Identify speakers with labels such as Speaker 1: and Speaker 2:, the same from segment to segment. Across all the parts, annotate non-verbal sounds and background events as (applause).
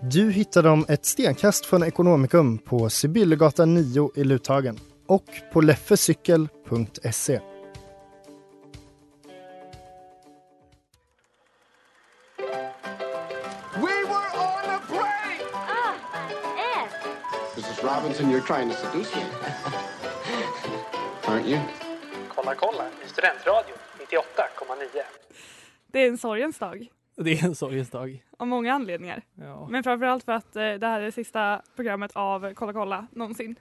Speaker 1: Du hittar dem ett stenkast från Ekonomikum på Sibyllegatan 9 i Luthagen och på leffecykel.se.
Speaker 2: We were on a break! Mrs. Robinson, you're trying to seduce me. Aren't you?
Speaker 3: Kolla kolla i Studentradion 98,9.
Speaker 4: Det är en sorgens dag
Speaker 5: (laughs) Det är en sorgens dag.
Speaker 4: av många anledningar.
Speaker 5: Ja.
Speaker 4: Men framförallt för att eh, det här är det sista programmet av Kolla kolla någonsin.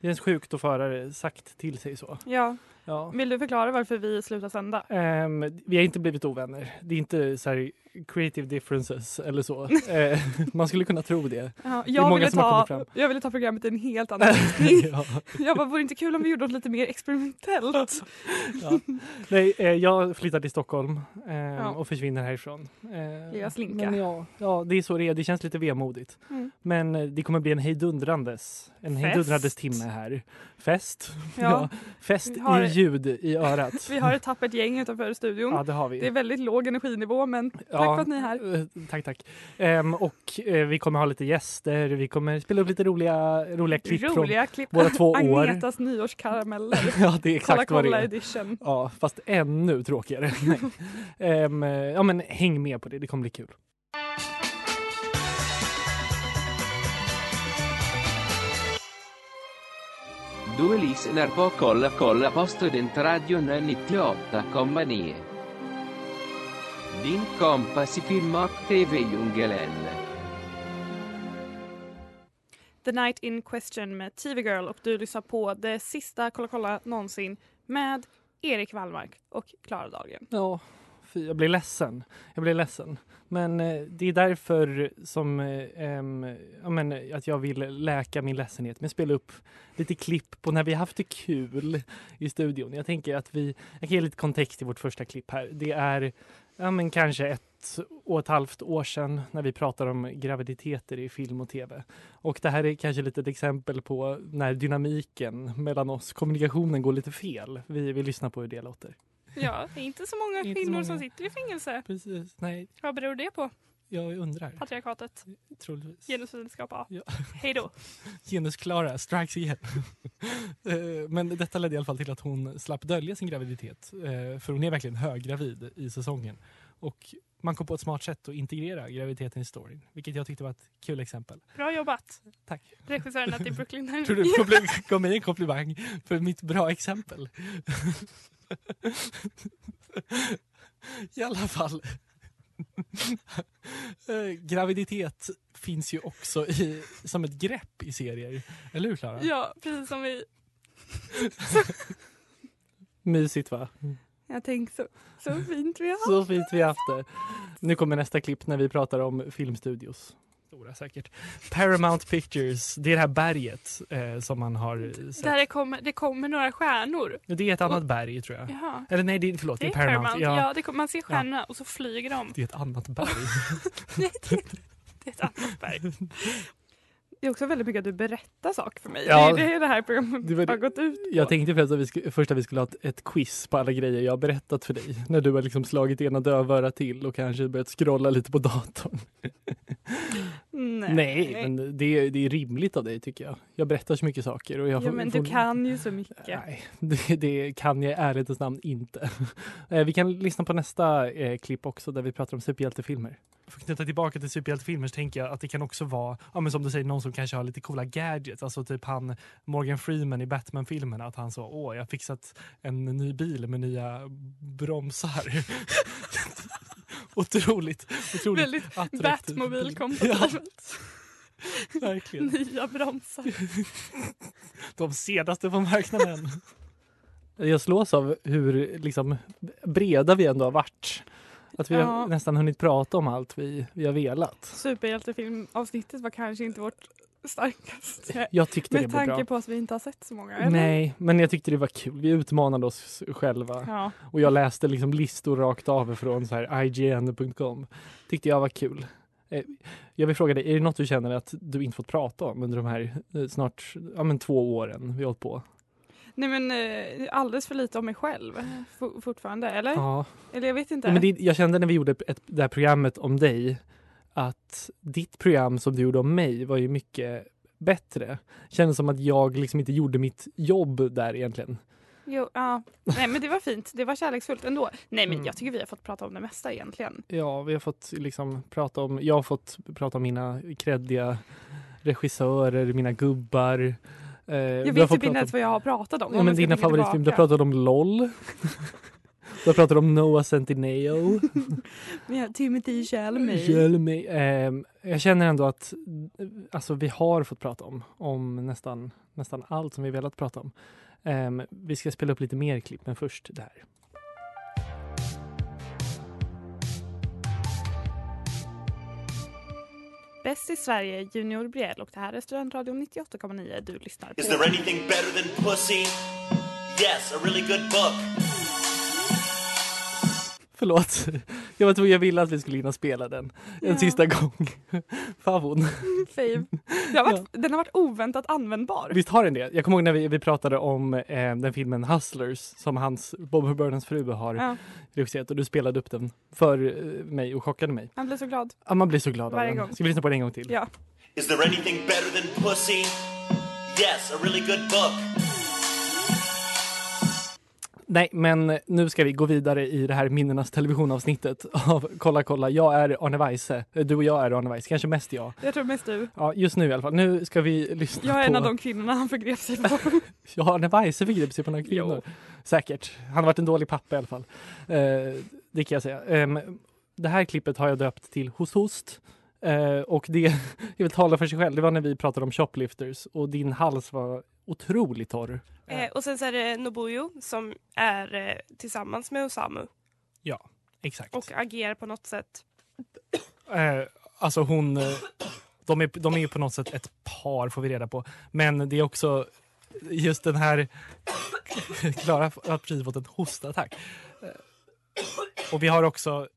Speaker 5: Det känns sjukt att få höra det sagt till sig så.
Speaker 4: Ja,
Speaker 5: Ja.
Speaker 4: vill du förklara varför vi slutar sända?
Speaker 5: Ehm, vi har inte blivit ovänner. Det är inte så här creative differences eller
Speaker 4: (laughs)
Speaker 5: så. Eh, man skulle kunna tro det.
Speaker 4: Ja,
Speaker 5: är
Speaker 4: jag,
Speaker 5: många
Speaker 4: ville
Speaker 5: som har kommit
Speaker 4: ta,
Speaker 5: fram.
Speaker 4: jag ville ta programmet i en
Speaker 5: (laughs)
Speaker 4: helt annan riktning.
Speaker 5: ja,
Speaker 4: (laughs) Jag bara, vore det inte kul om vi gjorde något lite mer experimentellt?
Speaker 5: (laughs) ja. Nej, eh, jag flyttar till Stockholm ehm, och försvinner härifrån. Eh,
Speaker 4: Lilla slinka.
Speaker 5: Men ja, ja, det är så det är. Det känns lite vemodigt.
Speaker 4: Mm.
Speaker 5: Men eh, det kommer bli en hejdundrandes, en
Speaker 4: Fest.
Speaker 5: hejdundrandes timme här. Fest.
Speaker 4: (laughs) Ja.
Speaker 5: Fest
Speaker 4: Vi har-
Speaker 5: i ljud
Speaker 4: (laughs)
Speaker 5: i örat.
Speaker 4: Vi har ett tappert gäng utanför studion.
Speaker 5: Ja, det har vi.
Speaker 4: Det är väldigt låg energinivå men tack
Speaker 5: Ja,
Speaker 4: för att ni är här.
Speaker 5: eh, Tack, tack. Ehm, och eh, vi kommer ha lite gäster, vi kommer spela upp lite roliga, roliga klipp från
Speaker 4: Roliga klipp.
Speaker 5: Alltså, våra två år.
Speaker 4: (laughs) Agnetas nyårskarameller.
Speaker 5: (laughs) ja, det är exakt
Speaker 4: kolla
Speaker 5: vad det
Speaker 4: kolla
Speaker 5: är.
Speaker 4: edition.
Speaker 5: Ja, fast ännu
Speaker 4: (laughs)
Speaker 5: tråkigare. Nej. Ehm, eh, ja, men häng med på det, det kommer bli kul.
Speaker 6: Du lyssnar på Kolla kolla på Studentradion 98,9. Din kompis i film och tv-djungeln.
Speaker 4: The Night In Question med TV Girl och du lyssnar på det sista Kolla kolla någonsin med Erik Wallmark och Klara Dahlgren.
Speaker 5: Ja, fy, jag blir ledsen. Jag blir ledsen. Men eh, det är därför som eh, ehm, ja, men, att jag vill läka min ledsenhet med att spela upp lite klipp på när vi har haft det kul i studion. Jag tänker att vi, jag kan ge lite kontext i vårt första klipp här. Det är ja, men, kanske ett och ett halvt år sedan när vi pratade om graviditeter i film och tv. Och det här är kanske lite ett exempel på när dynamiken mellan oss, kommunikationen går lite fel. Vi, vi lyssnar på hur det låter.
Speaker 4: Ja, det är inte så många
Speaker 5: Inte så
Speaker 4: kvinnor
Speaker 5: många.
Speaker 4: som sitter i fängelse.
Speaker 5: Precis, nej,
Speaker 4: Vad beror det på?
Speaker 5: jag undrar.
Speaker 4: Patriarkatet,
Speaker 5: Troligtvis.
Speaker 4: genusvetenskap A.
Speaker 5: Ja. (laughs)
Speaker 4: Hej då.
Speaker 5: Genusklara strikes igen. (laughs) Eh, Men detta ledde i alla fall till att hon slapp dölja sin graviditet. eh, För hon är verkligen höggravid i säsongen. Och man kom på ett smart sätt att integrera graviditeten i storyn. Vilket jag tyckte var ett kul exempel.
Speaker 4: Bra jobbat.
Speaker 5: Tack. (laughs)
Speaker 4: Regissören att i Brooklyn.
Speaker 5: Tror du problem gav mig en komplimang för mitt bra exempel? I alla fall. Eh, Graviditet finns ju också i, som ett grepp i serier. Eller hur, Klara?
Speaker 4: Ja, precis som vi
Speaker 5: Mysigt, va?
Speaker 4: Jag tänkte så, så fint vi har.
Speaker 5: Så fint vi haft det. Nu kommer nästa klipp när vi pratar om filmstudios. Stora säkert. Paramount Pictures, det är det här berget eh, som man har sett.
Speaker 4: Där det, kommer, det kommer några stjärnor.
Speaker 5: Det är ett annat berg, tror jag.
Speaker 4: Jaha.
Speaker 5: Eller nej, det, förlåt,
Speaker 4: Det är Paramount. Ja. det kom, man ser
Speaker 5: Ja.
Speaker 4: stjärnorna och så flyger de.
Speaker 5: Det är ett annat berg.
Speaker 4: (laughs) Det är ett
Speaker 5: (laughs)
Speaker 4: annat berg. Det är också väldigt mycket att du berättar saker för mig.
Speaker 5: Ja.
Speaker 4: Det är det det här programmet
Speaker 5: Det var det-
Speaker 4: har gått ut på.
Speaker 5: Jag tänkte först att vi, sk- först att vi skulle ha ett, ett quiz på alla grejer jag har berättat för dig. När du har liksom slagit ena dövörat till och kanske börjat scrolla lite på datorn.
Speaker 4: Nej.
Speaker 5: Nej, men det, är- det är rimligt av dig tycker jag. Jag berättar så mycket saker. Och jag
Speaker 4: Jo,
Speaker 5: får-
Speaker 4: men
Speaker 5: får-
Speaker 4: du kan ju så mycket.
Speaker 5: Nej, (laughs) det, det kan jag i (laughs) ärlighetens namn inte. Eh, Vi kan lyssna på nästa eh, klipp också där vi pratar om superhjältefilmer. för att knyta tillbaka till superhjältefilmer så tänker jag att det kan också vara, ja, men som du säger, någon som kanske har lite coola gadgets. Alltså typ han Morgan Freeman i Batman-filmerna, att han sa åh, jag har fixat en ny bil med nya bromsar. (laughs) otroligt, otroligt
Speaker 4: Väldigt
Speaker 5: attraktiv bil. (laughs)
Speaker 4: Batmobil-kompatibelt.
Speaker 5: Ja, verkligen.
Speaker 4: Nya bromsar.
Speaker 5: (laughs) De senaste på marknaden. Jag slås av hur liksom, breda vi ändå har varit. Att vi
Speaker 4: Ja.
Speaker 5: har nästan hunnit prata om allt vi, vi har velat.
Speaker 4: Superhjältefilmavsnittet var kanske inte vårt starkaste.
Speaker 5: Jag tyckte det
Speaker 4: (laughs) Med
Speaker 5: blev bra.
Speaker 4: tanke på att vi inte har sett så många. eller?
Speaker 5: Nej, men jag tyckte det var kul. Vi utmanade oss själva.
Speaker 4: Ja.
Speaker 5: Och jag läste liksom listor rakt av från så här IGN.com. Tyckte jag var kul. Eh, Jag vill fråga dig, är det något du känner att du inte fått prata om under de här eh, snart ja, men två åren vi har hållit på?
Speaker 4: Nej men eh, alldeles för lite om mig själv eh, fo- fortfarande. Eller?
Speaker 5: Ja.
Speaker 4: Eller jag vet inte.
Speaker 5: Ja, men det, jag kände när vi gjorde ett, det här programmet om dig att ditt program som du gjorde om mig var ju mycket bättre. Kändes som att jag liksom inte gjorde mitt jobb där egentligen.
Speaker 4: Jo, ja. Nej men det var fint. Det var kärleksfullt ändå. Nej men
Speaker 5: Mm.
Speaker 4: jag tycker vi har fått prata om det mesta egentligen.
Speaker 5: Ja, vi har fått liksom prata om, jag har fått prata om mina kreddiga regissörer, mina gubbar. Eh,
Speaker 4: Jag vet typ inte ens vad jag har pratat om.
Speaker 5: Ja, men
Speaker 4: om jag ska
Speaker 5: dina
Speaker 4: blicka
Speaker 5: favoritfilmer, du har
Speaker 4: tillbaka.
Speaker 5: pratat om LOL. (laughs) du har pratat om Noah Centineo.
Speaker 4: Ja, Timothy Chalamet.
Speaker 5: Hjälp mig. Ehm, jag känner ändå att eh, alltså, vi har fått prata om, om nästan, nästan allt som vi velat prata om. Ehm, vi ska spela upp lite mer klipp, men först det här.
Speaker 4: Bäst i Sverige, Junior Briell och det här är Studentradion 98,9. Du lyssnar på...
Speaker 7: Is there anything better than pussy? Yes, a really good book.
Speaker 5: Förlåt. Jag, var tvungen, jag ville att vi skulle hinna spela den en
Speaker 4: Ja.
Speaker 5: sista gång. Favon.
Speaker 4: Fave. Den Mm, har, varit, den har varit oväntat användbar.
Speaker 5: Visst har den det? Jag kommer ihåg när vi, vi pratade om eh, den filmen Hustlers som hans, Bob Burnhams fru har
Speaker 4: Ja,
Speaker 5: regisserat och du spelade upp den för eh, mig och chockade mig.
Speaker 4: man blir så glad.
Speaker 5: Ah, man blir så glad
Speaker 4: Varje
Speaker 5: av den.
Speaker 4: gång.
Speaker 5: Ska vi lyssna på den en gång till?
Speaker 4: Ja.
Speaker 7: Is there anything better than pussy? Yes, a really good book.
Speaker 5: Nej, men nu ska vi gå vidare i det här minnenas televisionavsnittet av Kolla kolla. Jag är Arne Weise. Du och jag är Arne Weise, kanske mest jag.
Speaker 4: Jag tror mest du.
Speaker 5: Ja, just nu i alla fall. Nu ska vi lyssna
Speaker 4: Jag är
Speaker 5: på...
Speaker 4: en av de kvinnorna han förgrep sig på.
Speaker 5: Ja, Arne Weise förgrep sig på några kvinnor. Säkert. Han har varit en dålig pappa i alla fall. Eh, det kan jag säga. Ehm, det här klippet har jag döpt till Hos Host. Eh, och det, (laughs) jag vill tala för sig själv, det var när vi pratade om shoplifters och din hals var otroligt torr.
Speaker 8: (laughs) Eh, och sen så är det Nobuyo som är eh, tillsammans med Osamu
Speaker 5: Ja, exakt.
Speaker 8: och agerar på något sätt.
Speaker 5: Eh, alltså hon... eh, De är, de är på något sätt ett par, får vi reda på. Men det är också just den här... (laughs) Klara har precis fått en hostattack. Eh, Och vi har också...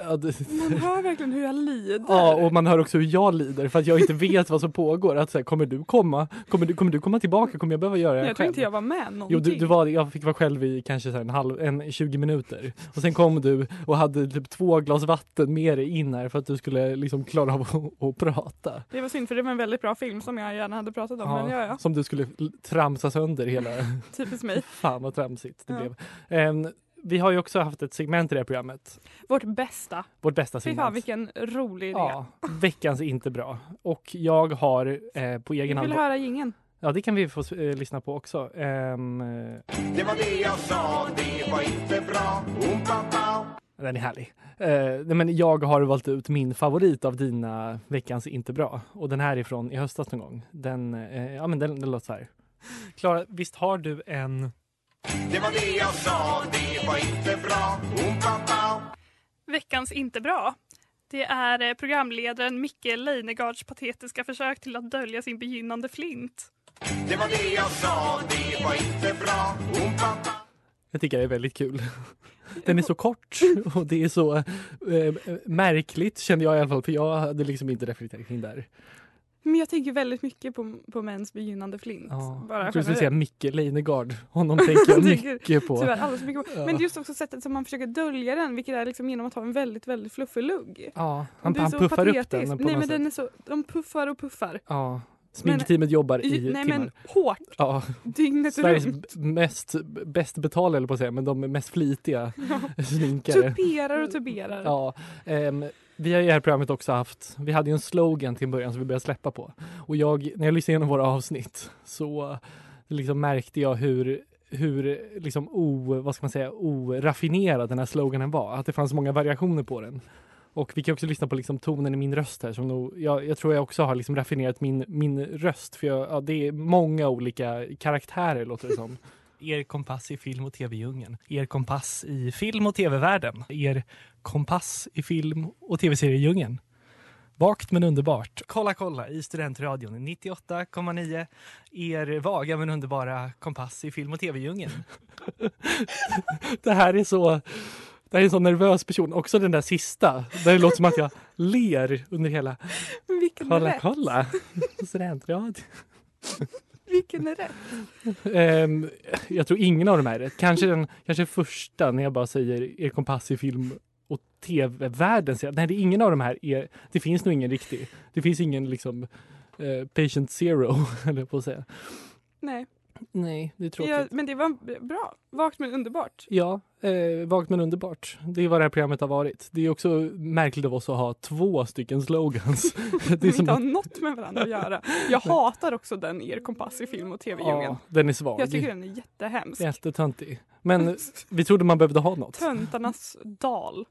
Speaker 5: Ja, det,
Speaker 4: Man hör verkligen hur jag lider.
Speaker 5: ja, och man hör också hur jag lider för att jag inte vet vad som pågår. Att, så här, kommer du komma? Kommer du, kommer du komma tillbaka? Kommer jag behöva göra det här
Speaker 4: jag tror inte
Speaker 5: själv?
Speaker 4: jag var med någonting.
Speaker 5: Jo, du, du var, jag fick vara själv i kanske så här en halv, en 20 minuter. Och sen kom du och hade typ två glas vatten med dig in här för att du skulle liksom klara av att, att prata.
Speaker 4: Det var synd för det var en väldigt bra film som jag gärna hade pratat om. Men ja, ja.
Speaker 5: Som du skulle l- tramsa sönder
Speaker 4: (laughs)
Speaker 5: hela...
Speaker 4: Typiskt mig.
Speaker 5: Fan vad tramsigt det
Speaker 4: Ja.
Speaker 5: blev. Ehm, vi har ju också haft ett segment i det här programmet.
Speaker 4: Vårt bästa.
Speaker 5: Vårt bästa
Speaker 4: Fy fan
Speaker 5: segment.
Speaker 4: vilken rolig idé.
Speaker 5: Ja, veckans inte bra. Och jag har eh, på
Speaker 4: Vi
Speaker 5: egen hand...
Speaker 4: vill höra gingen.
Speaker 5: Ja, det kan vi få eh, lyssna på också. Ehm, eh,
Speaker 2: Det var det jag sa, det var inte bra. Oh, Oom-pa-pa.
Speaker 5: Den är härlig. Eh, nej, men jag har valt ut min favorit av dina veckans inte bra. Och den här är från i höstas någon gång. Den, eh, ja, men den, den låter så här. Klara, visst har du en...
Speaker 2: Det var det jag sa, det var inte bra. Oom-pa-pa.
Speaker 8: Veckans inte bra.
Speaker 9: Det är eh, programledaren Micke Leinegards patetiska försök till att dölja sin begynnande flint.
Speaker 2: Det var det jag sa, det var inte bra. Oom-pa-pa.
Speaker 5: Jag tycker det är väldigt (laughs) kul. Den är så kort och det är så eh, märkligt kände jag i alla fall. För jag hade liksom inte reflekterat kring det här.
Speaker 4: Men jag tänker väldigt mycket på, på mäns begynnande flint.
Speaker 5: Ja.
Speaker 4: Bara
Speaker 5: jag tror du skulle
Speaker 4: generellt.
Speaker 5: säga Micke Leijnegard. Honom
Speaker 4: (laughs)
Speaker 5: tänker jag
Speaker 4: Tänker-
Speaker 5: mycket på.
Speaker 4: Tyvärr alldeles för mycket på.
Speaker 5: Ja.
Speaker 4: Men just också sättet som man försöker dölja den vilket är liksom genom att ha en väldigt väldigt fluffig lugg.
Speaker 5: Ja, han,
Speaker 4: Det är
Speaker 5: han
Speaker 4: så
Speaker 5: puffar upp
Speaker 4: patetiskt.
Speaker 5: den på något
Speaker 4: Nej men
Speaker 5: sätt.
Speaker 4: den är så, de puffar och puffar.
Speaker 5: Ja, sminkteamet jobbar i
Speaker 4: Ju- Nej
Speaker 5: timmar.
Speaker 4: men hårt, (laughs)
Speaker 5: Ja.
Speaker 4: dygnet
Speaker 5: Sveriges
Speaker 4: runt.
Speaker 5: b- mest, b- bäst betalade,
Speaker 4: (laughs)
Speaker 5: eller på att säga, men de mest flitiga sminkare.
Speaker 4: Tuperar och tuberar.
Speaker 5: Ja, ehm, Vi har i det här programmet också haft, vi hade ju en slogan till en början som vi började släppa på. Och jag, när jag lyssnade igenom våra avsnitt så liksom märkte jag hur hur liksom o, vad ska man säga, oraffinerad den här sloganen var. Att det fanns många variationer på den. Och vi kan också lyssna på liksom tonen i min röst här. Som nog, jag, jag tror jag också har liksom raffinerat min, min röst. För jag, ja, det är många olika karaktärer låter det som.
Speaker 10: (laughs) Er kompass i film och tv-djungeln. Er kompass i film och tv-världen. Er kompass i film och tv-seriedjungeln. Vakt men underbart. Kolla kolla i studentradion 98,9. Er vaga men underbara kompass i film och tv-djungeln.
Speaker 5: (laughs) det här är så... Det här är en så nervös person. Också den där sista. Där det låter som att jag ler under hela...
Speaker 9: Vilken
Speaker 5: kolla,
Speaker 9: är rätt?
Speaker 5: kolla. (laughs) Studentradion.
Speaker 9: Vilken är rätt?
Speaker 5: Ehm, jag tror ingen av dem är rätt. Kanske den kanske första när jag bara säger er kompass i film och tv-världen. säger jag, Nej, det är ingen av de här. Är, det finns nog ingen riktig. Det finns ingen liksom eh, patient zero, (laughs) höll jag på att säga.
Speaker 4: Nej.
Speaker 5: Nej, det är tråkigt.
Speaker 4: Ja, men det var bra. Vakt men underbart.
Speaker 5: Ja, eh, vagt men underbart. Det är vad det här programmet har varit. Det är också märkligt av oss att ha två stycken slogans. (laughs)
Speaker 4: De inte har något med varandra att göra. Jag hatar också den er kompass i film och tv-djungeln.
Speaker 5: Ja, den är svag.
Speaker 4: Jag tycker den är jättehemsk.
Speaker 5: Jättetöntig. Men vi trodde man behövde ha något.
Speaker 4: Töntarnas dal.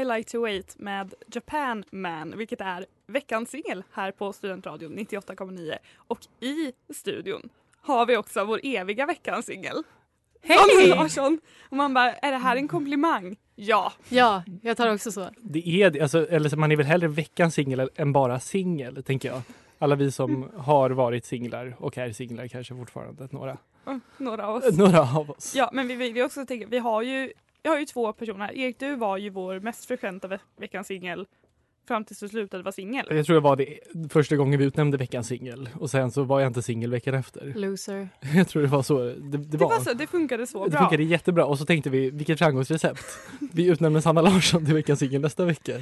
Speaker 4: I like to wait med Japan Man, vilket är veckans singel här på Studentradion 98,9. Och i studion har vi också vår eviga veckans singel.
Speaker 11: Hej!
Speaker 4: Daniel Larsson. Och man bara, är det här en komplimang? Ja.
Speaker 11: Ja, jag tar också så.
Speaker 5: Det är det. Alltså, eller så man är väl hellre veckans singel än bara singel, tänker jag. Alla vi som
Speaker 4: Mm.
Speaker 5: har varit singlar och är singlar kanske fortfarande, några.
Speaker 4: Mm, Några av oss.
Speaker 5: Några av oss.
Speaker 4: Ja, men vi, vi, vi, också tänker, vi har ju jag har ju två personer. här. Erik, du var ju vår mest frekventa ve veckans singel fram tills du slutade vara singel.
Speaker 5: Jag tror det var det första gången vi utnämnde veckans singel och sen så var jag inte singel veckan efter.
Speaker 11: Loser.
Speaker 5: Jag tror det var så det, det,
Speaker 4: Mm. Det,
Speaker 5: var.
Speaker 4: var så, det funkade så
Speaker 5: det
Speaker 4: bra.
Speaker 5: funkade jättebra och så tänkte vi vilket framgångsrecept. vi utnämner Sanna Larsson till veckans singel nästa vecka.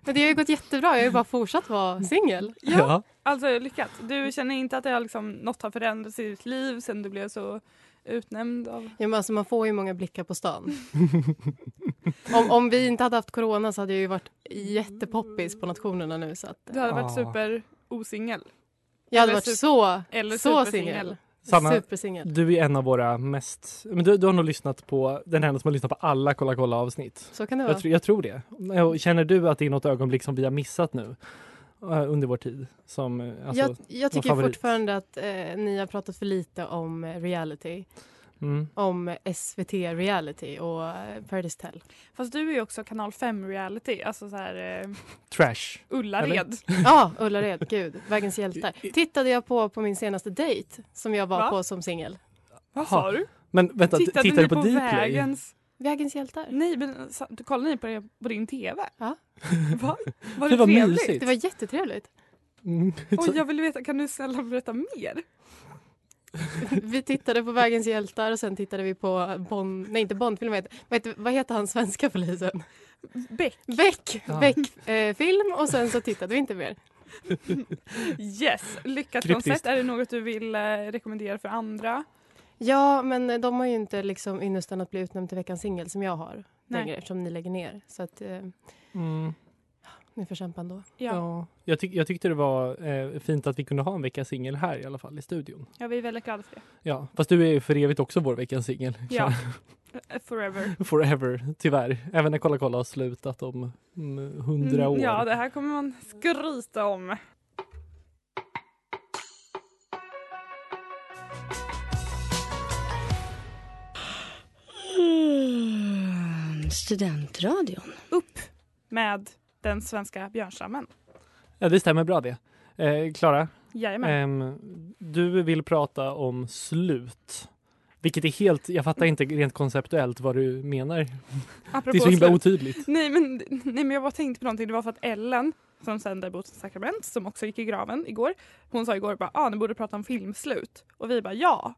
Speaker 11: Men det har ju gått jättebra. Jag har ju bara fortsatt vara singel.
Speaker 4: Ja. Alltså lyckat. Du känner inte att det har liksom, något har förändrats i ditt liv sen du blev så utnämnd av...
Speaker 11: Ja, men alltså, man får ju många blickar på (laughs) stan. Om, om vi inte hade haft corona så hade jag ju varit jättepoppis på nationerna nu. Så att,
Speaker 4: Du hade varit
Speaker 11: Ja.
Speaker 5: Ah.
Speaker 4: super osingel.
Speaker 11: Jag hade
Speaker 4: Eller
Speaker 11: varit
Speaker 4: sup-
Speaker 11: så,
Speaker 4: eller
Speaker 11: så
Speaker 4: supersingel.
Speaker 11: singel.
Speaker 5: Sanna,
Speaker 11: Supersingel.
Speaker 5: du är en av våra mest... Men du, du har nog lyssnat på den enda som har lyssnat på alla Kolla kolla avsnitt.
Speaker 11: Så kan det
Speaker 5: Jag,
Speaker 11: vara.
Speaker 5: tror- jag tror det. Och Känner du att det är något ögonblick som vi har missat nu eh, under vår tid? Som, eh, alltså,
Speaker 11: jag,
Speaker 5: någon
Speaker 11: jag tycker
Speaker 5: favorit?
Speaker 11: fortfarande att eh, ni har pratat för lite om eh, reality.
Speaker 5: Mm.
Speaker 11: Om eh, SVT reality och eh, Paradise
Speaker 5: (laughs)
Speaker 11: Tell.
Speaker 4: Fast du är ju också kanal 5 reality, alltså så här eh,
Speaker 5: Trash.
Speaker 4: Ullared.
Speaker 11: Ja, Ullared. Gud, Vägens hjältar. Tittade jag på på min senaste dejt som jag var
Speaker 4: Va?
Speaker 11: på som singel.
Speaker 4: Vad sa du?
Speaker 5: Men vänta,
Speaker 4: Tittade
Speaker 5: tittade, du
Speaker 4: ni
Speaker 5: på,
Speaker 4: på
Speaker 5: Dplay?
Speaker 4: Vägens-
Speaker 11: Vägens hjältar.
Speaker 4: Nej, men sa- du kollade ni på, det, på din tv?
Speaker 11: Ja.
Speaker 4: (laughs) Va? Var
Speaker 5: Det
Speaker 4: det,
Speaker 5: var
Speaker 4: trevligt?
Speaker 5: mysigt. Det
Speaker 11: Det var jättetrevligt.
Speaker 5: (laughs)
Speaker 11: (laughs)
Speaker 5: Mm.
Speaker 4: Oj, jag vill veta, kan du snälla berätta mer?
Speaker 11: Vi tittade på Vägens hjältar och sen tittade vi på Bond, nej inte Bondfilm, vad heter- vad heter, vad heter han svenska polisen?
Speaker 4: Beck.
Speaker 11: Beck,
Speaker 4: Ja.
Speaker 11: Beck eh, film och sen så tittade vi inte mer.
Speaker 4: Yes, lyckat
Speaker 11: Kryptiskt.
Speaker 4: koncept. Är det något du vill eh, rekommendera för andra?
Speaker 11: Ja, men de har ju inte liksom ynnesten att bli utnämnd till veckans singel som jag har
Speaker 4: Nej.
Speaker 11: längre eftersom ni lägger ner. Så att eh,
Speaker 5: Mm.
Speaker 11: ni får kämpa ändå.
Speaker 5: Ja. Jag, tyck, jag tyckte det var eh, fint att vi kunde ha en veckans singel här i alla fall i studion.
Speaker 4: Ja, vi är väldigt glada för det.
Speaker 5: Ja, fast du är ju för evigt också vår veckans singel.
Speaker 4: Ja. Eh,
Speaker 5: (laughs)
Speaker 4: Forever.
Speaker 5: Forever, tyvärr. Även när Kolla kolla har slutat om mm, hundra år.
Speaker 4: Mm, Ja, det här kommer man skryta om.
Speaker 12: Studentradion.
Speaker 4: Upp med den svenska björnstammen.
Speaker 5: Ja, det stämmer bra det. Eh, Klara,
Speaker 4: Jajamän.
Speaker 5: ehm, du vill prata om slut. Vilket är helt, jag fattar inte rent konceptuellt vad du menar. det är så
Speaker 4: Apropå
Speaker 5: himla
Speaker 4: slut.
Speaker 5: otydligt.
Speaker 4: Nej men, nej men jag bara tänkte på någonting. Det var för att Ellen som sänder Botens sakrament som också gick i graven igår. Hon sa igår bara ah, ni borde prata om filmslut och vi bara ja.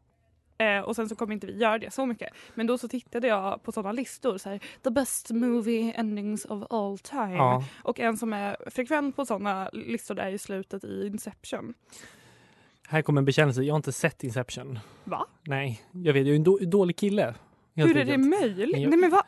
Speaker 4: Eh, och sen så kommer inte vi göra det så mycket. Men då så tittade jag på sådana listor så här the best movie endings of all time.
Speaker 5: Ja.
Speaker 4: Och en som är frekvent på sådana listor där är ju slutet i Inception.
Speaker 5: Här kommer en bekännelse. Jag har inte sett Inception.
Speaker 4: Va?
Speaker 5: Nej, jag vet. Jag är en då, dålig kille. helt
Speaker 4: Hur är det
Speaker 5: enkelt.
Speaker 4: möjligt?
Speaker 5: Men jag-
Speaker 4: Nej men va?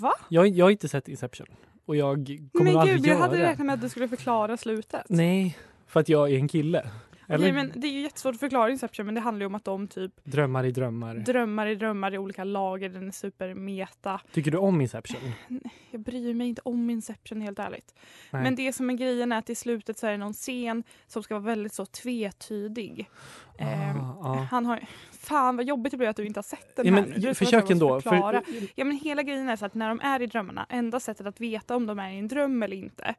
Speaker 4: Va?
Speaker 5: Jag, jag har inte sett Inception. Och jag kommer
Speaker 4: Men
Speaker 5: aldrig
Speaker 4: gud,
Speaker 5: göra
Speaker 4: jag hade
Speaker 5: det.
Speaker 4: räknat med att du skulle förklara slutet.
Speaker 5: Nej, för att jag är en kille. Eller
Speaker 4: Okej, men det är ju jättesvårt att förklara Inception men det handlar ju om att de typ
Speaker 5: drömmar i drömmar.
Speaker 4: drömmar i drömmar i olika lager, den är supermeta.
Speaker 5: Tycker du om Inception?
Speaker 4: Jag bryr mig inte om Inception helt ärligt.
Speaker 5: Nej.
Speaker 4: Men det som är grejen är att i slutet så är det någon scen som ska vara väldigt så tvetydig. Ehm,
Speaker 5: ah.
Speaker 4: Han har, fan vad jobbigt det blir att du inte har sett den
Speaker 5: Ja,
Speaker 4: här
Speaker 5: men
Speaker 4: nu. Det är som att
Speaker 5: försök
Speaker 4: jag måste
Speaker 5: ändå, för-
Speaker 4: förklara. Ja, men hela grejen är så att när de är i drömmarna, enda sättet att veta om de är i en dröm eller inte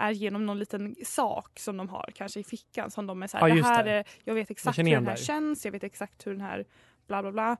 Speaker 4: är genom någon liten sak som de har, kanske i fickan. Som de är så här,
Speaker 5: Ja,
Speaker 4: det
Speaker 5: just
Speaker 4: här
Speaker 5: det.
Speaker 4: Är, jag vet exakt
Speaker 5: känner
Speaker 4: hur
Speaker 5: igen
Speaker 4: den här
Speaker 5: dig.
Speaker 4: känns, jag vet exakt hur den här bla bla bla.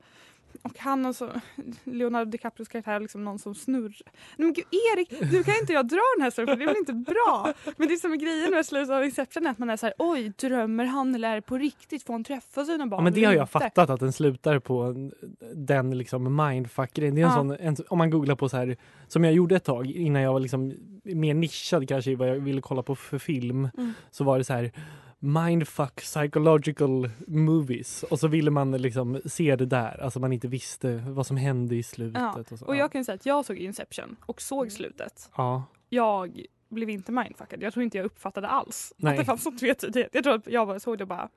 Speaker 4: Och han och så, (laughs) Leonardo DiCaprios karaktär har liksom någon som snurrar. Nej men gud Erik, du kan inte jag dra den här storyn för det är väl inte bra? Men det som är grejen med slutet av Inception är att man är så här, oj drömmer han eller är det på riktigt? Får han träffa sina barn
Speaker 5: Ja, men det
Speaker 4: eller
Speaker 5: har
Speaker 4: inte?"
Speaker 5: jag fattat att den slutar på en- den liksom mindfuck-grejen. Det är en
Speaker 4: Ja.
Speaker 5: sån, en, om man googlar på så här, som jag gjorde ett tag innan jag var liksom mer nischad kanske i vad jag ville kolla på för film,
Speaker 4: Mm.
Speaker 5: så var det så här mindfuck psychological movies och så ville man liksom se det där, alltså man inte visste vad som hände i slutet.
Speaker 4: Ja.
Speaker 5: Och så.
Speaker 4: Och jag kan ju säga att jag såg Inception och såg slutet.
Speaker 5: ja.
Speaker 4: Jag blev inte mindfuckad. Jag tror inte jag uppfattade alls
Speaker 5: Nej.
Speaker 4: att det fanns någon tvetydighet. Jag tror att jag bara såg det och bara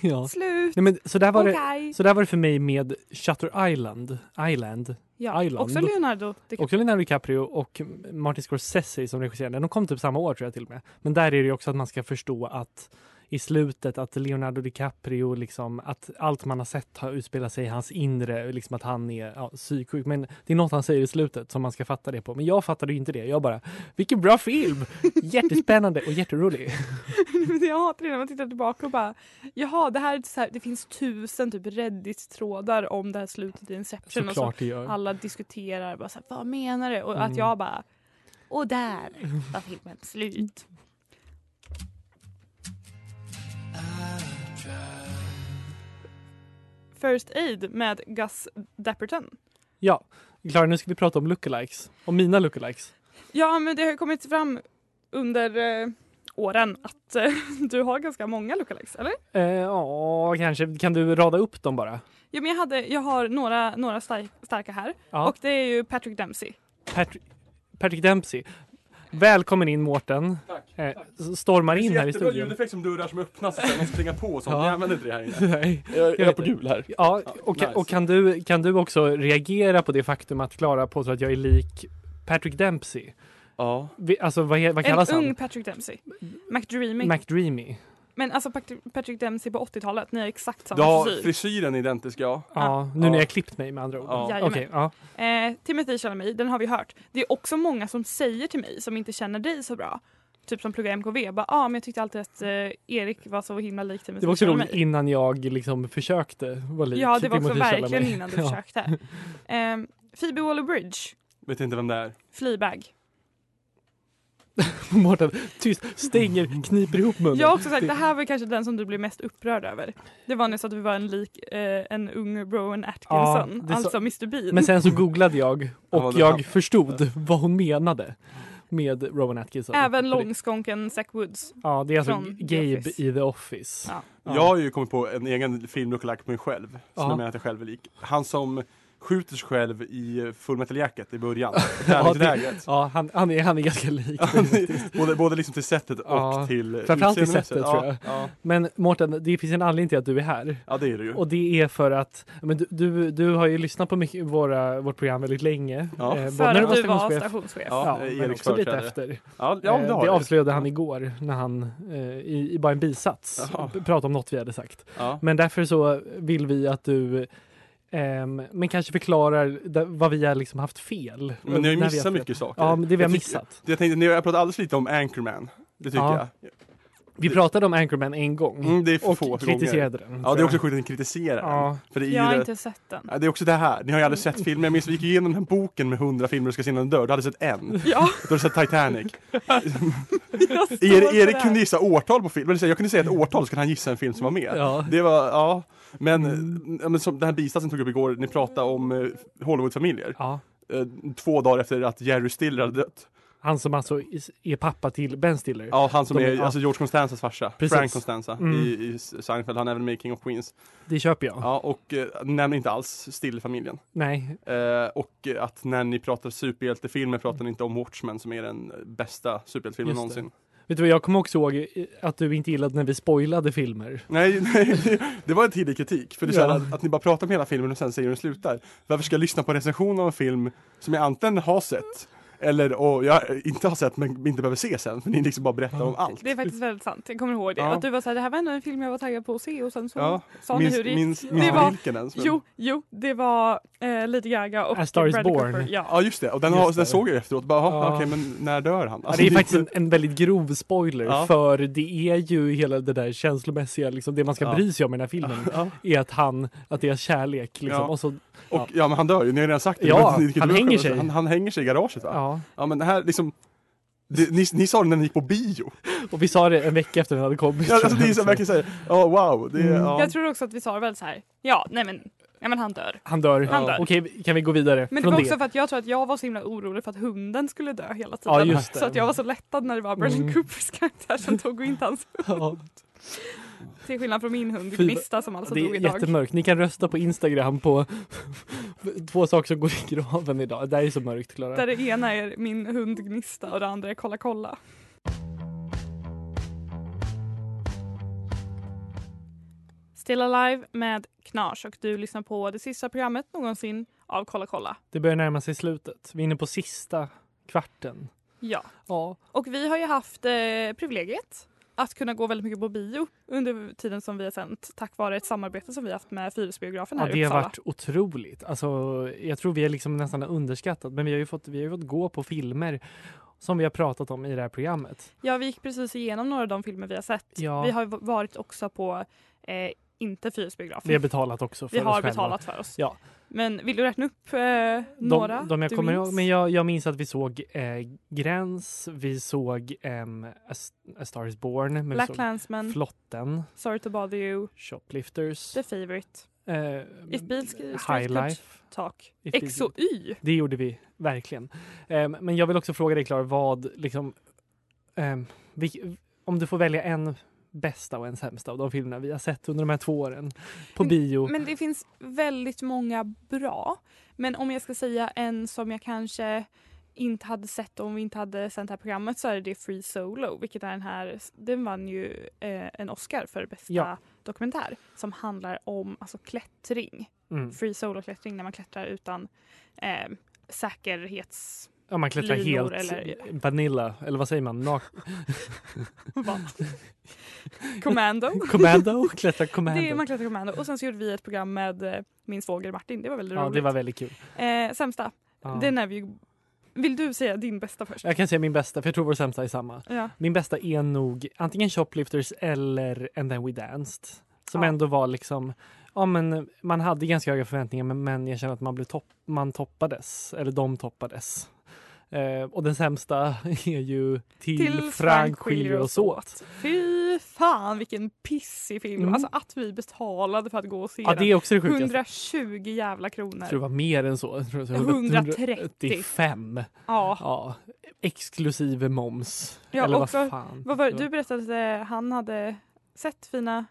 Speaker 5: ja.
Speaker 4: slut.
Speaker 5: Nej, men så, där var
Speaker 4: Okej.
Speaker 5: det, så där var det för mig med Shutter Island. Island.
Speaker 4: Ja,
Speaker 5: Island.
Speaker 4: också Leonardo DiCaprio. (laughs)
Speaker 5: Också Leonardo DiCaprio och Martin Scorsese som regisserade den. De kom typ samma år tror jag till och med. Men där är det ju också att man ska förstå att i slutet att Leonardo DiCaprio liksom att allt man har sett har utspelat sig i hans inre, liksom att han är ja, psyksjuk. Men det är något han säger i slutet som man ska fatta det på. Men jag fattade ju inte det. Jag bara, vilken bra film! Jättespännande och
Speaker 4: (laughs)
Speaker 5: jätterolig.
Speaker 4: Men jag hatar det när man tittar tillbaka och bara jaha det här, är så här det finns tusen typ Reddit-trådar om det här slutet i Inception och
Speaker 5: Såklart det
Speaker 4: så
Speaker 5: gör.
Speaker 4: alla diskuterar bara så här, vad menar du? Och att
Speaker 5: Mm.
Speaker 4: jag bara och där var filmen slut.
Speaker 5: Mm.
Speaker 4: First Aid med Gus Dapperton.
Speaker 5: Ja, Klara nu ska vi prata om lookalikes. Om mina lookalikes.
Speaker 4: Ja, men det har ju kommit fram under eh, åren att eh, (laughs) du har ganska många lookalikes, eller?
Speaker 5: Eh, Ja, kanske. Kan du rada upp dem bara?
Speaker 4: Ja, men jag, hade, jag har några, några stark, starka här.
Speaker 5: Ja.
Speaker 4: Och det är ju Patrick Dempsey.
Speaker 5: Patrick, Patrick Dempsey. Välkommen in Mårten.
Speaker 12: Tack,
Speaker 5: Eh, s- stormar in här i
Speaker 12: Jättebra
Speaker 5: studion.
Speaker 12: ljudeffekt som dörrar som öppnas och sen någon springer på och sånt.
Speaker 5: Ja.
Speaker 12: Jag använder inte det här inne.
Speaker 5: Nej,
Speaker 12: Jag, jag är
Speaker 5: vet
Speaker 12: på
Speaker 5: det.
Speaker 12: gul här.
Speaker 5: Ja, och,
Speaker 12: nice.
Speaker 5: och kan, du, kan du också reagera på det faktum att Klara påstår att jag är lik Patrick Dempsey?
Speaker 12: Ja.
Speaker 5: Vi, alltså vad, he- vad kallas
Speaker 4: en
Speaker 5: han?
Speaker 4: ung Patrick Dempsey. McDreamy.
Speaker 5: McDreamy.
Speaker 4: men alltså Pat- Patrick Dempsey på 80-talet, ni har exakt
Speaker 12: Du
Speaker 4: samma
Speaker 12: har
Speaker 4: frisyr.
Speaker 12: frisyren identisk ja.
Speaker 5: Ja, nu när jag klippt mig med andra ord.
Speaker 12: Ja.
Speaker 4: Jajamän.
Speaker 5: Okej, ja.
Speaker 4: Eh, Timothy Chalamet, den har vi hört. Det är också många som säger till mig, som inte känner dig så bra, typ som pluggar MKV, bara ah, men jag tyckte alltid att eh, Erik var så himla lik Timothy
Speaker 5: Det var också
Speaker 4: Chalamet.
Speaker 5: roligt innan jag liksom försökte vara lik
Speaker 4: Ja, det var också
Speaker 5: Timothée Chalamet.
Speaker 4: verkligen innan
Speaker 5: (laughs)
Speaker 4: du
Speaker 5: Ja.
Speaker 4: försökte. Eh, Phoebe Waller-Bridge,
Speaker 12: Vet inte vem det är.
Speaker 4: Fleabag.
Speaker 5: Mårten, tyst, stänger, kniper ihop munnen.
Speaker 4: Jag har också sagt, det här var kanske den som du blev mest upprörd över. Det var när jag sa att vi var en lik eh, en ung Rowan Atkinson,
Speaker 5: det är så-
Speaker 4: alltså Mr Bean.
Speaker 5: Men sen så googlade jag
Speaker 12: vad
Speaker 5: och
Speaker 12: det
Speaker 5: jag
Speaker 12: kan.
Speaker 5: förstod vad hon menade med Rowan Atkinson.
Speaker 4: Även
Speaker 5: För det-
Speaker 4: långskånken Zack Woods.
Speaker 5: Ja, det är alltså
Speaker 4: från The
Speaker 5: Gabe
Speaker 4: Office.
Speaker 5: i The Office.
Speaker 4: Ja.
Speaker 12: Jag har ju kommit på en egen film lookalike på mig själv. Som
Speaker 5: Ja.
Speaker 12: jag menar att jag själv är lik. Han som skjuter sig själv i Full Metal Jacket i början.
Speaker 5: Ja,
Speaker 12: Träningslägret.
Speaker 5: det, ja han, han, är, han är
Speaker 12: (laughs)
Speaker 5: ganska lik.
Speaker 12: både, både liksom till sättet och
Speaker 5: Ja,
Speaker 12: till
Speaker 5: Framförallt i
Speaker 12: utseendemässigt.
Speaker 5: sättet tror jag.
Speaker 12: Ja, ja.
Speaker 5: Men Mårten, det finns en anledning till att du är här.
Speaker 12: ja, det är det ju.
Speaker 5: Och det är för att men du, du, du har ju lyssnat på mycket, våra, vårt program väldigt länge.
Speaker 12: Ja. För
Speaker 5: Eh, både när
Speaker 4: att du var stationschef.
Speaker 5: Ja,
Speaker 12: Ja, eh,
Speaker 5: men
Speaker 12: Eriks
Speaker 5: också lite
Speaker 12: företrädare.
Speaker 5: efter.
Speaker 12: Ja, ja,
Speaker 5: Eh,
Speaker 12: det
Speaker 5: det
Speaker 12: har jag.
Speaker 5: avslöjade han igår när han eh, i, i bara en bisats
Speaker 12: Jaha.
Speaker 5: p- pratade om något vi hade sagt.
Speaker 12: Ja.
Speaker 5: Men därför så vill vi att du ehm, men kanske förklarar där, vad vi har liksom haft fel.
Speaker 12: Men Mm, ni har ju
Speaker 5: När vi
Speaker 12: missat
Speaker 5: fel.
Speaker 12: mycket saker.
Speaker 5: Ja, men det vi
Speaker 12: Jag
Speaker 5: har
Speaker 12: tyck-
Speaker 5: missat.
Speaker 12: Jag tänkte, ni har pratat alldeles lite om Anchorman. Det tycker
Speaker 5: Ja.
Speaker 12: jag.
Speaker 5: Vi pratade om Anchorman en gång
Speaker 12: Mm, det är för
Speaker 5: och
Speaker 12: få
Speaker 5: kritiserade
Speaker 12: gånger.
Speaker 5: den.
Speaker 12: Ja,
Speaker 5: tror
Speaker 12: det är också
Speaker 5: jag.
Speaker 12: sjukt att ni kritiserar
Speaker 5: Ja.
Speaker 12: den. För det är ju
Speaker 4: Jag har
Speaker 12: det-
Speaker 4: inte sett den. Mm.
Speaker 12: Ja, det är också det här. Ni har ju aldrig sett filmer. Jag minns vi gick igenom den här boken med hundra filmer du ska se innan du dör. Du hade sett en.
Speaker 4: Ja.
Speaker 12: Du hade sett
Speaker 4: (laughs)
Speaker 12: Titanic.
Speaker 4: Jag står
Speaker 12: Er,
Speaker 4: för det
Speaker 12: Erik
Speaker 4: här.
Speaker 12: kunde gissa årtal på filmer. Jag kunde säga ett årtal så kunde han gissa en film som var med.
Speaker 5: Ja. Mm.
Speaker 12: Det var, ja. Men, ja, men som den här bisatsen tog upp igår, ni pratade om eh, Hollywoodfamiljer.
Speaker 5: Ja.
Speaker 12: Eh, Två dagar efter att Jerry Stiller hade dött.
Speaker 5: Han som alltså is- är pappa till Ben Stiller.
Speaker 12: Ja, han som
Speaker 5: De-
Speaker 12: är
Speaker 5: ja,
Speaker 12: alltså George Constanzas farsa.
Speaker 5: Precis.
Speaker 12: Frank Constanza
Speaker 5: Mm.
Speaker 12: i, i Seinfeld. Han är även med i King of Queens.
Speaker 5: Det köper jag.
Speaker 12: Ja, och eh, nämner inte alls Stiller-familjen.
Speaker 5: Nej.
Speaker 12: Eh, och eh, att när ni pratar superhjältefilmer pratar ni inte om Watchmen som är den eh, bästa superhjältefilmen
Speaker 5: Just det.
Speaker 12: någonsin.
Speaker 5: Vet du vad, jag kommer också ihåg eh, att du inte gillade när vi spoilade filmer.
Speaker 12: Nej, (laughs) nej, det- det var en tidig kritik. För det är så här
Speaker 5: Ja.
Speaker 12: att, att ni bara pratar om hela filmen och sen säger hur den slutar. Varför ska jag lyssna på en recension av en film som jag antingen har sett eller och jag inte har sett men inte behöver se sen. För ni liksom bara berättar om allt.
Speaker 4: Det är faktiskt väldigt sant. Jag kommer ihåg det.
Speaker 12: Ja.
Speaker 4: Att du var så här, det här var ändå en film jag var taggad på att se och sen så
Speaker 12: Ja.
Speaker 4: sa
Speaker 12: Minns-
Speaker 4: ni hur det gick.
Speaker 12: minns-
Speaker 4: det
Speaker 12: minns
Speaker 4: var,
Speaker 12: vilken ens, men-
Speaker 4: Jo, jo, det var eh, Lady Gaga och
Speaker 5: A Star is
Speaker 4: Bradley
Speaker 5: Born.
Speaker 4: Cooper. Ja.
Speaker 12: Ja just det, och den,
Speaker 5: Just
Speaker 12: har,
Speaker 5: det.
Speaker 12: den såg jag efteråt. Bara, ja.
Speaker 5: Ja.
Speaker 12: okej men när dör han?
Speaker 5: Ja,
Speaker 12: Alltså,
Speaker 5: det är faktiskt en, en väldigt grov spoiler
Speaker 12: Ja.
Speaker 5: för det är ju hela det där känslomässiga, liksom, det man ska
Speaker 12: Ja.
Speaker 5: bry sig om i den här filmen
Speaker 12: (laughs) Ja.
Speaker 5: är att han, att det är kärlek. Liksom.
Speaker 12: Ja.
Speaker 5: Och så,
Speaker 12: Och ja. men han dör ju, ni har redan sagt det.
Speaker 5: Ja,
Speaker 12: Det var inte- det
Speaker 5: han
Speaker 12: var
Speaker 5: hänger
Speaker 12: skönt.
Speaker 5: sig.
Speaker 12: Han, han hänger sig i garaget va?
Speaker 5: ja.
Speaker 12: Ja men det här liksom det, ni, ni sa det när ni gick på bio.
Speaker 5: (laughs) Och vi sa det en vecka efter den hade kommit.
Speaker 12: Ja, alltså, det
Speaker 5: (laughs)
Speaker 12: är så verkligen såhär, ja wow. Det, är-
Speaker 5: Mm.
Speaker 12: ja.
Speaker 4: Jag tror också att vi sa väl så här, ja, nej men, nej, men han dör.
Speaker 5: Han dör.
Speaker 4: Han dör.
Speaker 5: Okej, kan vi gå vidare
Speaker 4: Men det
Speaker 5: från
Speaker 4: var
Speaker 5: det?
Speaker 4: också för att jag tror att jag var så himla orolig för att hunden skulle dö hela tiden.
Speaker 5: Ja, just det.
Speaker 4: Så att jag var så lättad när det var Bradley
Speaker 5: Mm.
Speaker 4: Coopers karaktär som tog och inte hans hund.
Speaker 5: (laughs) Ja.
Speaker 4: Till skillnad från min hund
Speaker 5: Fy,
Speaker 4: Gnista som alltså
Speaker 5: det
Speaker 4: dog
Speaker 5: är
Speaker 4: idag.
Speaker 5: jättemörkt. Ni kan rösta på Instagram på (laughs) två saker som går i graven idag. Det här är så mörkt Klara.
Speaker 4: Där det ena är min hund Gnista och det andra är Kolla kolla. Still Alive med Knars och du lyssnar på det sista programmet någonsin av Kolla kolla.
Speaker 5: Det börjar närma sig slutet. Vi är inne på sista kvarten.
Speaker 4: Ja.
Speaker 5: Ja.
Speaker 4: Och vi har ju haft eh, privilegiet att kunna gå väldigt mycket på bio under tiden som vi har sänt tack vare ett samarbete som vi haft med Fyrisbiografen
Speaker 5: Ja,
Speaker 4: här i
Speaker 5: det har
Speaker 4: Uppsala.
Speaker 5: varit otroligt. Alltså, jag tror vi är liksom nästan underskattat, men vi har ju fått, vi har ju fått gå på filmer som vi har pratat om i det här programmet.
Speaker 4: Ja, vi gick precis igenom några av de filmer vi har sett.
Speaker 5: Ja.
Speaker 4: Vi har v- varit också på eh, inte Fyrisbiografen.
Speaker 5: Vi har betalat också för
Speaker 4: Vi
Speaker 5: oss
Speaker 4: har
Speaker 5: själva.
Speaker 4: betalat för oss.
Speaker 5: Ja.
Speaker 4: Men vill du räkna upp eh, några?
Speaker 5: De, de jag
Speaker 4: du
Speaker 5: kommer
Speaker 4: minns?
Speaker 5: ihåg, men jag, jag minns att vi såg eh, Gräns, vi såg ehm, A, S- A Star is Born, men
Speaker 4: Black
Speaker 5: vi såg
Speaker 4: Klansman,
Speaker 5: Flotten,
Speaker 4: Sorry to bother you,
Speaker 5: Shoplifters,
Speaker 4: The Favourite,
Speaker 5: eh,
Speaker 4: If Beale Street
Speaker 5: High
Speaker 4: Could
Speaker 5: Life.
Speaker 4: Talk,
Speaker 5: If Beale-
Speaker 4: XOY.
Speaker 5: Det gjorde vi verkligen. Ehm, men jag vill också fråga dig Klar, vad liksom, ehm, vilk- om du får välja en bästa och en sämsta av de filmerna vi har sett under de här två åren på
Speaker 4: Mm.
Speaker 5: bio.
Speaker 4: Men det finns väldigt många bra. Men om jag ska säga en som jag kanske inte hade sett om vi inte hade sänt det här programmet så är det Free Solo, vilket är den här, den vann ju eh, en Oscar för bästa
Speaker 5: Ja.
Speaker 4: dokumentär som handlar om alltså klättring.
Speaker 5: Mm.
Speaker 4: Free Solo-klättring när man klättrar utan eh, säkerhets...
Speaker 5: Ja, man klättrar
Speaker 4: linor
Speaker 5: helt
Speaker 4: eller-
Speaker 5: vanilla, eller vad säger man? Nak- (laughs)
Speaker 4: Va? Commando.
Speaker 5: commando? Klättrar commando.
Speaker 4: (laughs) Det är, man klättrar commando. Och sen så gjorde vi ett program med eh, min svåger Martin. Det var väldigt
Speaker 5: ja,
Speaker 4: roligt.
Speaker 5: det var väldigt kul.
Speaker 4: Eh, sämsta.
Speaker 5: Ja.
Speaker 4: Den är vi ju... Vill du säga din bästa först?
Speaker 5: Jag kan säga min bästa, för jag tror vår sämsta är samma.
Speaker 4: Ja.
Speaker 5: Min bästa är nog antingen Shoplifters eller And then we danced. Som
Speaker 4: Ja.
Speaker 5: ändå var liksom, ja men man hade ganska höga förväntningar men, men jag känner att man, blev topp, man toppades, eller de toppades. Eh, och den sämsta (laughs) är ju Till, Frank skiljer oss åt.
Speaker 4: Fy fan vilken pissig film.
Speaker 5: Mm.
Speaker 4: Alltså att vi betalade för att gå och se
Speaker 5: Ja,
Speaker 4: den.
Speaker 5: det är också det sjukaste.
Speaker 4: 120 jävla kronor.
Speaker 5: Jag tror det var mer än så. Jag tror det var
Speaker 4: 130.
Speaker 5: 135.
Speaker 4: Ja.
Speaker 5: ja. Exklusive moms.
Speaker 4: Ja,
Speaker 5: eller
Speaker 4: också-
Speaker 5: vad fan.
Speaker 4: Vad var, du berättade att eh, han hade sett fina,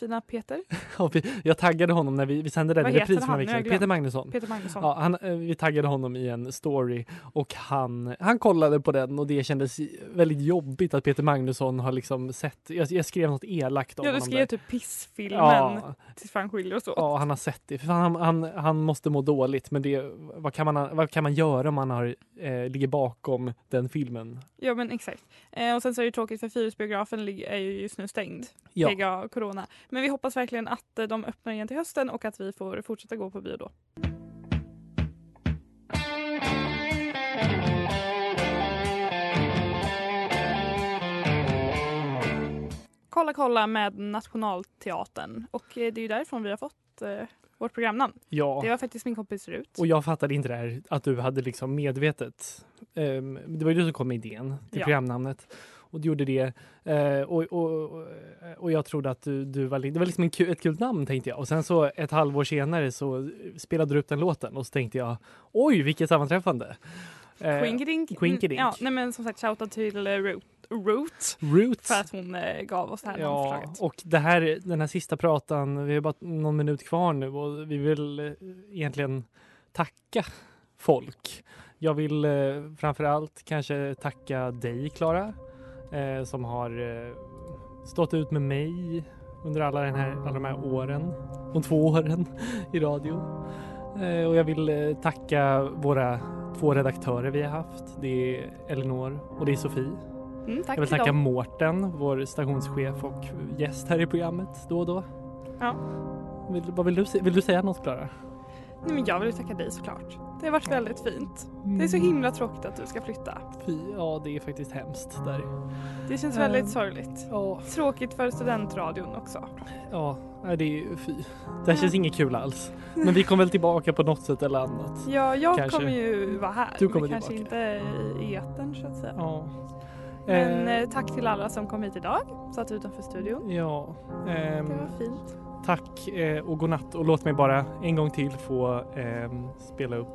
Speaker 4: fina Peter.
Speaker 5: Ja, vi- Jag taggade honom när vi, vi sände den
Speaker 4: Vad
Speaker 5: i
Speaker 4: heter
Speaker 5: repris för
Speaker 4: han?
Speaker 5: några
Speaker 4: Nu har
Speaker 5: veckor sedan. Peter
Speaker 4: jag glömt.
Speaker 5: Magnusson.
Speaker 4: Peter Magnusson.
Speaker 5: Ja, han, eh, vi taggade honom i en story och han, han kollade på den och det kändes väldigt jobbigt att Peter Magnusson har liksom sett, jag, jag skrev något elakt om
Speaker 4: Ja, du
Speaker 5: honom
Speaker 4: skrev
Speaker 5: där.
Speaker 4: typ pissfilmen
Speaker 5: Ja.
Speaker 4: till Frank skiljer oss åt.
Speaker 5: Ja, han har sett det. För fan, han, han, han måste må dåligt men det, vad kan man, vad kan man göra om man har, eh, ligger bakom den filmen?
Speaker 4: Ja men exakt. Eh, och sen så är det ju tråkigt för Fyrisbiografen lig- är ju just nu stängd.
Speaker 5: Ja.
Speaker 4: Ja. corona. Men vi hoppas verkligen att eh, de öppnar igen till hösten och att vi får fortsätta gå på bio då. Kolla kolla med Nationalteatern och eh, det är ju därifrån vi har fått eh, vårt programnamn.
Speaker 5: Ja.
Speaker 4: Det var faktiskt min kompis Rut.
Speaker 5: Och jag fattade inte det här att du hade liksom medvetet. ehm, det var ju du som kom med idén till
Speaker 4: Ja.
Speaker 5: programnamnet och du gjorde det. Eh, och, och, och- och jag trodde att du, du var, li- det var liksom en kul, ett kul namn tänkte jag. Och sen så ett halvår senare så spelade du upp den låten och så tänkte jag oj vilket sammanträffande.
Speaker 4: Eh, Quinkidink.
Speaker 5: Quinkidink.
Speaker 4: Ja, nej men som sagt shoutout till eh, Root, Root,
Speaker 5: Root.
Speaker 4: för att hon eh, gav oss det här
Speaker 5: Ja,
Speaker 4: namnförslaget.
Speaker 5: och det här, den här sista pratan, vi har bara någon minut kvar nu och vi vill eh, egentligen tacka folk. Jag vill eh, framför allt kanske tacka dig Klara eh, som har eh, stått ut med mig under alla, den här, alla de här åren, de två åren i radio. Eh, och jag vill eh, tacka våra två redaktörer vi har haft. Det är Elinor och det är Sofie.
Speaker 4: Mm, tack
Speaker 5: Jag vill
Speaker 4: till
Speaker 5: tacka
Speaker 4: dem.
Speaker 5: Mårten, vår stationschef och gäst här i programmet då och då.
Speaker 4: Ja.
Speaker 5: Vill, vad vill, du, se- vill du säga något Klara?
Speaker 4: Nej, men jag vill ju tacka dig såklart. Det har varit väldigt fint. Det är så himla tråkigt att du ska flytta.
Speaker 5: Mm, Fy, ja det är faktiskt hemskt där.
Speaker 4: Det känns
Speaker 5: Eh,
Speaker 4: väldigt sorgligt. Tråkigt för studentradion också.
Speaker 5: Ja, nej, det är ju fy. Det här känns inget kul alls. Men vi kommer väl tillbaka på något sätt eller annat.
Speaker 4: Ja, jag
Speaker 5: Kanske.
Speaker 4: kommer ju vara här.
Speaker 5: Du kommer
Speaker 4: men kanske
Speaker 5: tillbaka.
Speaker 4: inte i etern så att säga.
Speaker 5: Ja.
Speaker 4: Men
Speaker 5: Eh.
Speaker 4: eh, tack till alla som kom hit idag. Satt utanför studion.
Speaker 5: Ja. ehm,
Speaker 4: Det var fint.
Speaker 5: tack eh, och godnatt och låt mig bara en gång till få ehm, spela upp